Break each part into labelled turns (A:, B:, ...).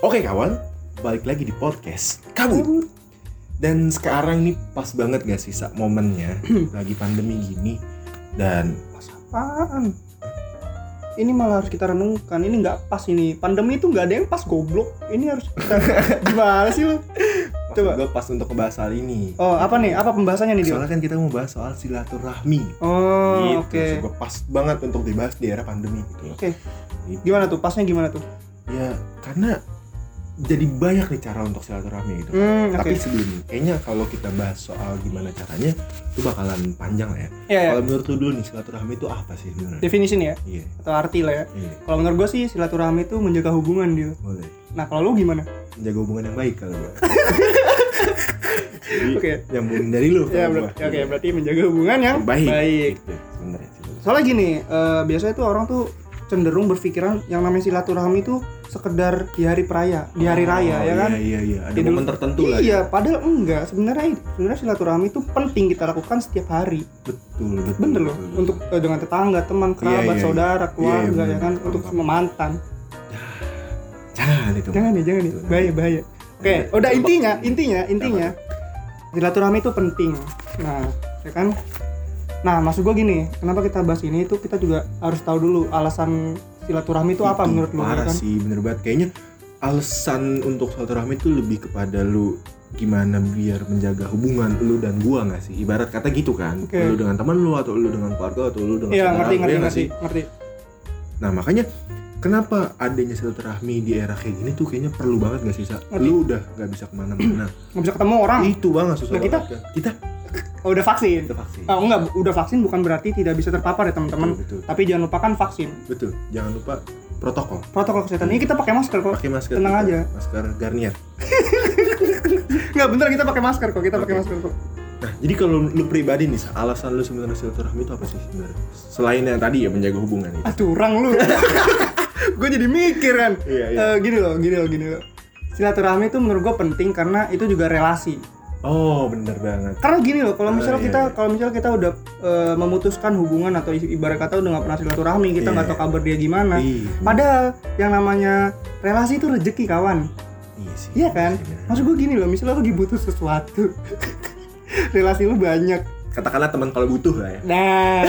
A: Oke kawan, balik lagi di podcast Kabut. Dan sekarang ini pas banget gak sih Sak, momennya lagi pandemi gini dan
B: Pas apaan? Ini malah harus kita renungkan. Ini nggak pas ini. Pandemi itu nggak ada yang pas goblok. Ini harus kita gimana sih lu?
A: Coba.
B: Coba.
A: gue pas untuk ngebahas hal ini.
B: Oh, apa nih? Apa pembahasannya nih, Dio?
A: Soalnya kan kita mau bahas soal silaturahmi.
B: Oh, oke.
A: So, gua pas banget untuk dibahas di era pandemi gitu. loh.
B: Oke.
A: Gitu.
B: Gimana tuh? Pasnya gimana tuh?
A: Ya karena jadi banyak nih cara untuk silaturahmi gitu.
B: Hmm,
A: Tapi
B: oke.
A: sebelum ini, kayaknya kalau kita bahas soal gimana caranya, itu bakalan panjang lah ya.
B: Ya, ya.
A: Kalau menurut lu dulu nih silaturahmi itu apa sih sebenarnya?
B: Definisi nih ya
A: Iya,
B: atau arti lah ya.
A: iya,
B: Kalau menurut gue sih silaturahmi itu menjaga hubungan, Dio.
A: boleh.
B: Nah, kalau lu gimana?
A: Menjaga hubungan yang baik kalau gua. Jadi,
B: Oke.
A: nyambung dari lu
B: Ya,
A: kalau
B: ber-
A: gua.
B: oke, berarti menjaga hubungan yang
A: baik.
B: baik.
A: Gitu, sebenarnya sih. bener.
B: soalnya gini eh, biasanya tuh orang tuh cenderung berpikiran yang namanya silaturahmi itu sekedar di hari peraya di hari raya
A: Oh,
B: ya kan
A: Iya, iya, iya. Ada
B: Jadi
A: momen
B: lu-
A: tertentu lah. ya.
B: iya padahal enggak sebenarnya sebenarnya silaturahmi itu penting kita lakukan setiap hari
A: Betul, betul.
B: bener loh
A: betul, betul.
B: untuk eh, dengan tetangga teman kerabat
A: iya,
B: saudara keluarga
A: bener,
B: ya kan
A: bener.
B: untuk sama mantan
A: jangan itu.
B: jangan ya jangan ya
A: Betul.
B: bahaya bahaya oke
A: Bener.
B: udah
A: Coba.
B: intinya intinya intinya silaturahmi itu penting nah ya kan nah maksud gua gini kenapa kita bahas ini itu kita juga harus tahu dulu alasan silaturahmi itu apa menurut lu ya
A: Parah
B: kan
A: sih, bener banget. Kayaknya alasan untuk silaturahmi itu lebih kepada lu gimana biar menjaga hubungan lu dan gua nggak sih ibarat kata gitu kan
B: Oke.
A: lu dengan teman lu atau lu dengan keluarga atau lu dengan
B: Iya
A: saudara
B: ngerti
A: lu,
B: ngerti
A: ya nggak
B: ngerti
A: sih?
B: ngerti.
A: Nah makanya kenapa adanya silaturahmi di era kayak gini tuh kayaknya perlu banget gak sih Sa?
B: Ngerti.
A: Lu udah gak bisa kemana-mana.
B: Nggak bisa ketemu orang.
A: Itu banget susah
B: Nah, kita-
A: banget kan. Kita
B: Oh, udah vaksin.
A: kita vaksin.
B: Oh enggak, udah vaksin bukan berarti tidak bisa terpapar ya teman-teman.
A: Betul, betul.
B: Tapi jangan lupakan vaksin.
A: Betul. Jangan lupa protokol.
B: Protokol kesehatan. Ini kita pakai masker kok.
A: Pakai masker.
B: Tenang
A: kita.
B: aja.
A: Masker Garnier.
B: Enggak bener kita pakai masker kok. Kita pakai
A: Oke.
B: masker kok.
A: Nah, jadi kalau lu pribadi nih, Sa, alasan lu sebenarnya silaturahmi itu apa sih sebenarnya? Selain yang tadi ya menjaga hubungan itu.
B: Ah curang lu. gue jadi mikir kan.
A: Iya, iya.
B: Eh, gini loh, gini loh, gini loh. Silaturahmi itu menurut gue penting karena itu juga relasi.
A: Oh, bener banget.
B: Karena gini loh,
A: Ah,
B: kalau misalnya
A: iya,
B: kita
A: iya.
B: kalau misalnya kita udah eh, memutuskan hubungan atau i- ibarat kata udah nggak pernah silaturahmi, kita
A: Iya.
B: nggak tahu kabar dia gimana.
A: Iya.
B: Padahal yang namanya relasi itu rezeki kawan.
A: Iya sih.
B: Iya kan?
A: Iya, bener.
B: Maksud gue gini loh, misalnya lu dibutuh sesuatu. relasi lu banyak.
A: Katakanlah teman kalau butuh lah ya.
B: Nah,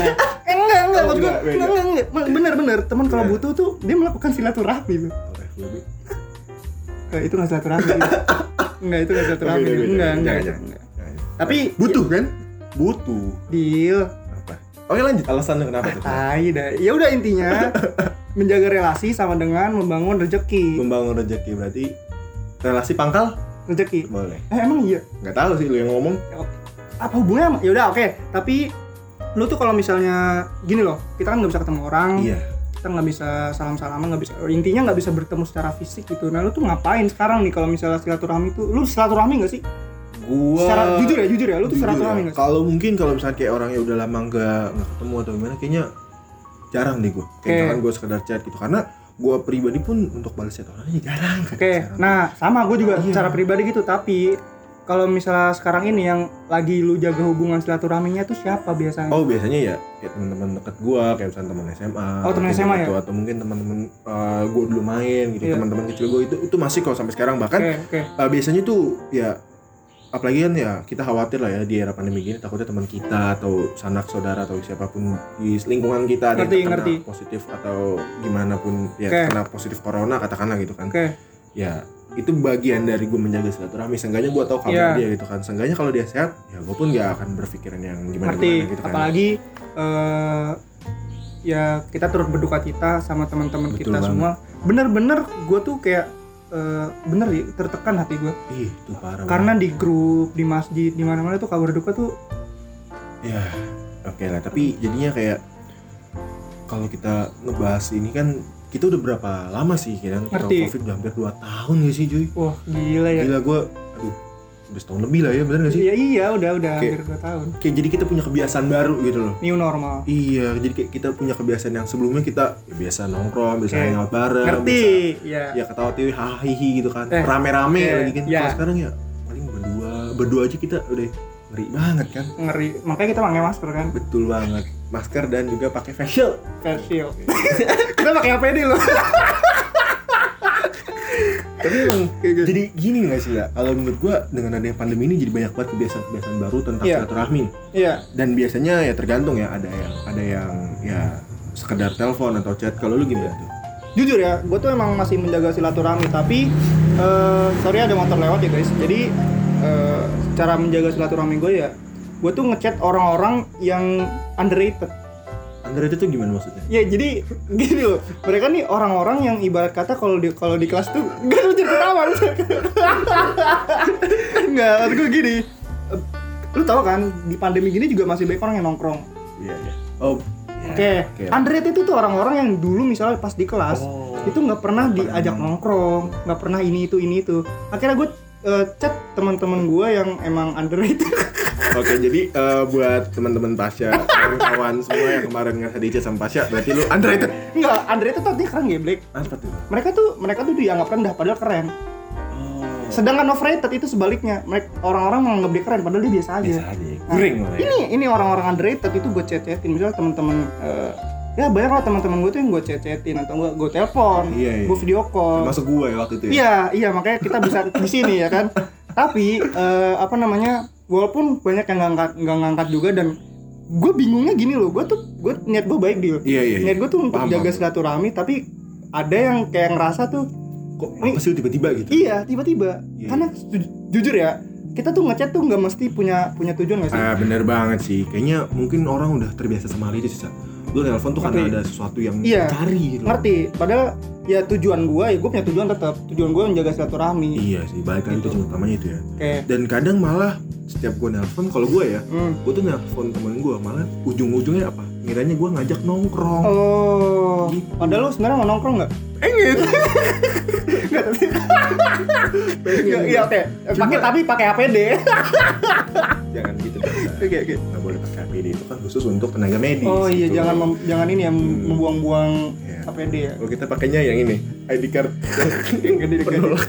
B: eh, enggak enggak
A: Oh,
B: maksud gue.
A: enggak, beda.
B: Enggak, enggak, enggak. Bener bener, teman kalau
A: Iya.
B: butuh tuh dia melakukan silaturahmi loh.
A: Oke, lebih.
B: Eh, itu nggak silaturahmi. enggak, itu nggak silaturahmi.
A: Oke, oke, oke.
B: Enggak, enggak,
A: Jangan,
B: enggak,
A: jangan.
B: enggak.
A: Nah,
B: Tapi
A: Butuh kan? Butuh.
B: deal
A: apa oke lanjut alasan lu kenapa tuh
B: tai dah. Ya udah intinya menjaga relasi sama dengan membangun rezeki.
A: membangun rezeki berarti relasi pangkal
B: Rezeki.
A: boleh
B: Eh emang iya.
A: nggak tahu sih lu yang ngomong
B: apa hubungannya sama- ya udah oke tapi lu tuh kalau misalnya gini loh kita kan nggak bisa ketemu orang
A: iya
B: kita nggak bisa salam salaman nggak bisa intinya nggak bisa bertemu secara fisik gitu nah lu tuh ngapain sekarang nih kalau misalnya silaturahmi tuh lu silaturahmi nggak sih
A: gua
B: secara jujur ya jujur ya lu tuh
A: jujur
B: silaturahmi
A: ya,
B: nggak sih
A: kalau mungkin kalau misalnya kayak orangnya udah lama nggak nggak ketemu atau gimana kayaknya jarang deh gua kayak
B: Oke.
A: jangan gua sekedar chat gitu karena gua pribadi pun untuk balas chat orangnya jarang
B: oke nah sama gue juga
A: Iya.
B: secara pribadi gitu tapi kalau misalnya sekarang ini yang lagi lu jaga hubungan silaturahminya tuh siapa biasanya
A: Oh biasanya ya, ya teman-teman deket gua kayak misalnya teman SMA.
B: Oh, teman
A: atau
B: SMA
A: gitu, Atau mungkin teman-teman eh, gua dulu main gitu,
B: Iya.
A: teman-teman kecil gua itu itu masih kalau sampai sekarang bahkan
B: oke oke
A: Eh, biasanya tuh ya apalagi kan ya kita khawatir lah ya di era pandemi gini takutnya teman kita atau sanak saudara atau siapapun di lingkungan kita ada yang
B: Ngerti,
A: terkena
B: ngerti.
A: positif atau gimana pun ya
B: Oke.
A: kena positif corona katakanlah gitu kan
B: oke
A: ya itu bagian dari gue menjaga silaturahmi seenggaknya gue tahu kabar
B: Iya.
A: dia gitu kan seenggaknya kalau dia sehat ya gue pun gak akan berpikiran yang gimana
B: ngerti
A: gimana gitu kan
B: apalagi eh, ya kita turut berduka cita sama teman-teman
A: Betul
B: kita
A: banget.
B: semua bener-bener gue tuh kayak eh, bener ya tertekan hati gue
A: ih itu parah
B: karena di grup di masjid di mana-mana tuh kabar duka tuh
A: banget. ya oke lah tapi jadinya kayak kalau kita ngebahas ini kan kita udah berapa lama sih kan kita
B: Ngerti.
A: covid udah hampir 2 tahun gak sih cuy
B: wah gila ya
A: gila gue aduh udah setahun lebih lah ya bener gak sih
B: iya iya udah udah
A: Oke.
B: hampir dua tahun
A: kayak jadi kita punya kebiasaan baru gitu loh
B: new normal
A: iya jadi kayak kita punya kebiasaan yang sebelumnya kita ya, biasa nongkrong biasa
B: Oke.
A: hangout bareng
B: ngerti
A: biasa,
B: ya
A: ya ketawa tiwi hahihi gitu kan
B: Eh,
A: rame-rame
B: iya,
A: lagi kan
B: iya.
A: kalau sekarang ya paling berdua berdua aja kita udah ngeri banget kan
B: ngeri makanya kita pakai masker kan
A: betul banget masker dan juga pakai facial
B: face shield kita pakai APD loh
A: tapi
B: oke.
A: Jadi gini nggak sih ya? Kalau menurut gua dengan adanya pandemi ini jadi banyak banget kebiasaan-kebiasaan baru tentang
B: Iya.
A: silaturahmi.
B: Iya.
A: Dan biasanya ya tergantung ya ada yang ada yang ya sekedar telepon atau chat. Kalau lu gimana tuh?
B: jujur ya gue tuh emang masih menjaga silaturahmi tapi eh, sorry ada motor lewat ya guys jadi eh, cara menjaga silaturahmi gue ya gue tuh ngechat orang-orang yang underrated
A: Underrated tuh gimana maksudnya?
B: ya jadi gini loh mereka nih orang-orang yang ibarat kata kalau di kalau di kelas tuh gak lucu ketawa nggak maksud gue gini eh, lu tau kan di pandemi gini juga masih banyak orang yang nongkrong
A: Iya iya. Oh.
B: oke
A: iya.
B: underrated itu tuh orang-orang yang dulu misalnya pas di kelas
A: Oh.
B: itu nggak pernah
A: Nggak pernah
B: diajak nongkrong nggak pernah ini itu ini itu akhirnya gue eh, chat teman-teman gue yang emang underrated
A: Oke, jadi eh, buat teman-teman Pasha, kawan-kawan semua yang kemarin ngerasa di chat sama Pasha, berarti lu underrated.
B: nggak underrated tapi keren geblek
A: Apa tuh?
B: mereka tuh mereka tuh dianggap rendah padahal keren
A: Oh.
B: sedangkan overrated itu sebaliknya mereka orang-orang menganggap dia keren padahal dia biasa aja
A: Biasa oh, iya. aja. Guring ya.
B: Nah,
A: orangnya.
B: ini ini orang-orang underrated itu gue chat chatin misalnya teman-teman eh, ya banyak lah teman-teman gue tuh yang gue chat chatin atau gue gue telepon
A: Iya, iya.
B: gue video call
A: Masuk gua ya waktu itu ya.
B: Iya, iya makanya kita bisa di sini ya kan. Tapi eh, apa namanya? Walaupun banyak yang nggak ngangkat nggak ngangkat juga dan gue bingungnya gini loh, gue tuh gue niat gue baik
A: Iya,
B: deal.
A: iya, iya.
B: Niat gue tuh untuk
A: Paham,
B: jaga
A: paham.
B: silaturahmi, tapi ada yang kayak ngerasa tuh
A: Kok apa sih lu tiba-tiba gitu?
B: iya tiba-tiba.
A: Iya,
B: Karena ju- jujur ya, kita tuh ngechat tuh nggak mesti punya punya tujuan nggak sih?
A: Ah, bener banget sih. Kayaknya mungkin orang udah terbiasa sama hal itu sih, Sa. Lu telepon tuh karena
B: Ngerti.
A: ada sesuatu yang
B: Iya.
A: cari gitu.
B: Ngerti? Padahal ya tujuan gue ya gue punya tujuan tetap. Tujuan gue menjaga silaturahmi.
A: Iya sih, balik lagi
B: Gitu.
A: tujuan utamanya itu ya.
B: Kayak
A: Dan kadang malah setiap gua nelpon, kalau gua ya,
B: hmm.
A: gua tuh nelpon temen gua malah ujung-ujungnya apa? Ngiranya gua ngajak nongkrong.
B: Oh,
A: Gitu.
B: padahal lu sebenarnya mau nongkrong nggak?
A: Pengen.
B: Nggak, tapi- Iya, iya, oke. Pakai
A: Cuma-
B: tapi pakai APD.
A: Jangan gitu. dong, Sa.
B: Oke, oke.
A: nggak boleh pakai APD itu kan khusus untuk tenaga medis.
B: Oh iya,
A: gitu.
B: jangan mem- jangan ini ya mem- membuang-buang
A: Iya.
B: APD ya.
A: Kalau kita pakainya yang ini ID card
B: Gede
A: Penolak.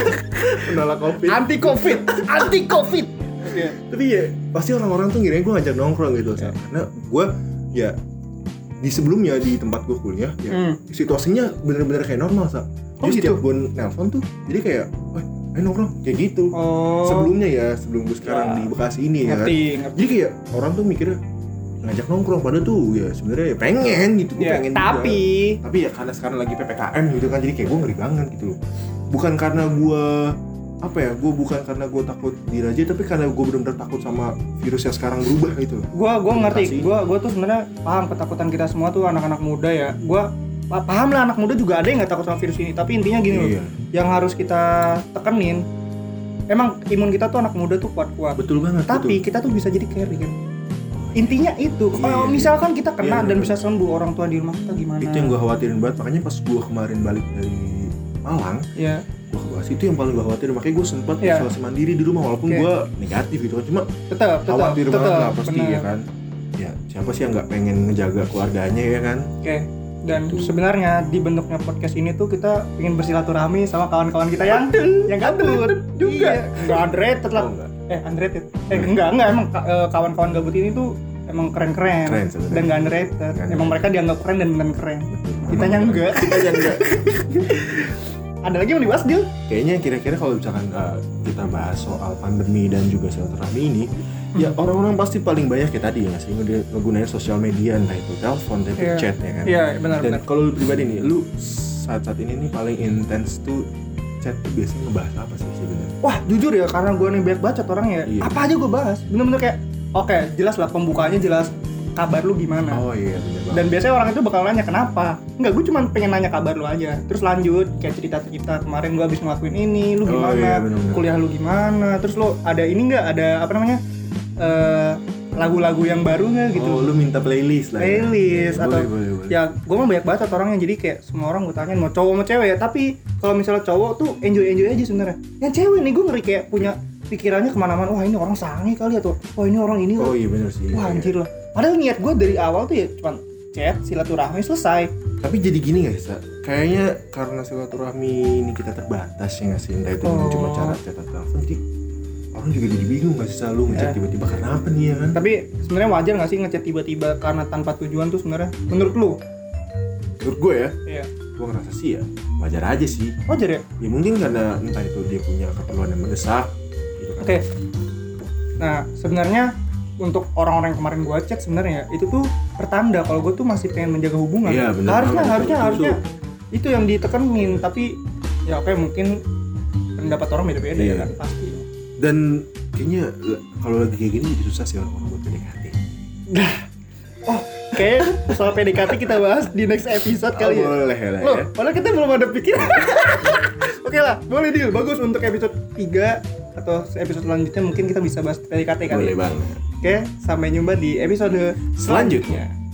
A: penolak covid.
B: Anti Covid, anti Covid. Oke.
A: Tapi ya pasti orang-orang tuh ngiranya gue ngajak nongkrong gitu, Sa.
B: Iya.
A: karena gue ya di sebelumnya di tempat gue kuliah ya
B: Hmm.
A: situasinya bener-bener kayak normal sa.
B: Oh,
A: Jadi
B: gitu?
A: setiap gue nelpon tuh jadi kayak, wah ayo nongkrong kayak gitu.
B: Oh.
A: Sebelumnya ya sebelum gue sekarang
B: Ya.
A: di Bekasi ini ya. kan.
B: ngerti, ngerti.
A: Jadi kayak orang tuh mikirnya ngajak nongkrong padahal tuh ya sebenarnya ya pengen gitu, gue
B: Ya,
A: pengen juga.
B: tapi
A: tapi ya karena sekarang lagi ppkm gitu kan jadi kayak gue ngeri banget gitu loh bukan karena gue apa ya gue bukan karena gue takut diraja tapi karena gue benar-benar takut sama virus yang sekarang berubah gitu loh
B: gua gua ngerti.
A: Komunikasi.
B: Gua gua tuh sebenarnya paham ketakutan kita semua tuh anak-anak muda ya. Gua pa- paham lah anak muda juga ada yang nggak takut sama virus ini, tapi intinya gini loh.
A: Iya.
B: Yang harus kita tekenin emang imun kita tuh anak muda tuh kuat-kuat.
A: betul banget
B: tapi
A: betul.
B: kita tuh bisa jadi carrier intinya itu
A: Iya, iya.
B: kalau misalkan kita
A: Iya,
B: kena dan
A: bener.
B: bisa sembuh orang tua di rumah kita gimana
A: itu yang gue khawatirin banget makanya pas gue kemarin balik dari Malang
B: ya
A: gue ke Bekasi itu yang paling gue khawatirin makanya gue sempat
B: Iya.
A: isolasi mandiri di rumah walaupun
B: Oke.
A: gue negatif gitu kan cuma
B: tetap tetap
A: khawatir
B: tetap
A: banget lah pasti
B: bener.
A: ya kan ya siapa sih yang nggak pengen ngejaga keluarganya ya kan
B: oke dan
A: Gitu.
B: sebenarnya di bentuknya podcast ini tuh kita ingin bersilaturahmi sama kawan-kawan kita yang yang
A: Iya.
B: gabut juga nggak underrated lah
A: Oh, nggak?
B: eh underrated eh enggak enggak emang ka- eh, kawan-kawan gabut ini tuh emang keren-keren
A: Keren sebenarnya.
B: dan nggak underrated
A: Nggak
B: emang mereka dianggap keren dan bener keren
A: Betul.
B: kitanya enggak
A: Kitanya enggak Iya.
B: ada lagi yang mau dibahas Dil?
A: kayaknya kira-kira kalau misalkan uh, kita bahas soal pandemi dan juga silaturahmi ini ya
B: Hmm.
A: orang-orang pasti paling banyak ya tadi ya sih ngede- ngegunain sosial media entah itu telepon entah itu
B: Iya.
A: chat ya kan
B: iya
A: dan
B: benar-benar
A: kalau lu pribadi nih lu saat-saat ini nih paling intens tuh chat tuh biasanya ngebahas apa sih sebenarnya
B: wah jujur ya karena gue nih banyak bacot orang ya
A: Iya.
B: apa aja gue bahas bener-bener kayak oke jelas lah pembukaannya jelas kabar lu gimana
A: oh iya bener banget
B: Nah. dan biasanya orang itu bakal nanya kenapa enggak gue cuma pengen nanya kabar lu aja terus lanjut kayak cerita cerita kemarin gue habis ngelakuin ini lu
A: Oh,
B: gimana
A: iya, bener-bener.
B: kuliah lu gimana terus lu ada ini nggak ada apa namanya eh, lagu-lagu yang baru nggak gitu
A: oh lu minta playlist lah ya?
B: playlist
A: Boleh,
B: atau
A: boleh, boleh.
B: ya gue mah banyak banget orangnya jadi kayak semua orang gue tanya mau cowok mau cewek ya tapi kalau misalnya cowok tuh enjoy enjoy aja sebenarnya yang cewek nih gue ngeri kayak punya pikirannya kemana-mana wah ini orang sange kali atau wah ini orang ini
A: oh
B: wah,
A: iya bener sih
B: wah
A: iya.
B: anjir lah padahal niat gue dari awal tuh ya cuma chat silaturahmi selesai
A: tapi jadi gini gak sih kayaknya karena silaturahmi ini kita terbatas ya nggak sih entah itu dengan cuma
B: Oh.
A: cara chat atau telepon jadi orang juga jadi bingung nggak sih selalu ngechat
B: Eh.
A: tiba-tiba karena apa nih ya kan
B: tapi sebenarnya wajar nggak sih ngechat tiba-tiba karena tanpa tujuan tuh sebenarnya menurut lu
A: menurut gue ya
B: iya
A: gue ngerasa sih ya wajar aja sih
B: wajar ya
A: ya mungkin karena entah itu dia punya keperluan yang mendesak gitu kan
B: oke nah sebenarnya untuk orang-orang yang kemarin gue chat sebenarnya itu tuh pertanda kalau gue tuh masih pengen menjaga hubungan
A: Iya, bener
B: harusnya
A: banget.
B: harusnya
A: Itu-
B: harusnya itu yang ditekenin tapi ya oke mungkin pendapat orang beda-beda
A: Iya.
B: ya kan pasti
A: dan kayaknya l- kalau lagi kayak gini jadi susah sih orang-orang buat PDKT
B: oke Oh, soal PDKT kita bahas di next episode kali ya
A: Oh, boleh lah
B: Loh,
A: ya
B: padahal kita belum ada pikiran. Oke lah, boleh deal. Bagus untuk episode 3 atau episode selanjutnya mungkin kita bisa bahas PDKT kali.
A: boleh
B: ya.
A: banget
B: Oke, sampai jumpa di episode
A: Selanjutnya.
B: selanjutnya.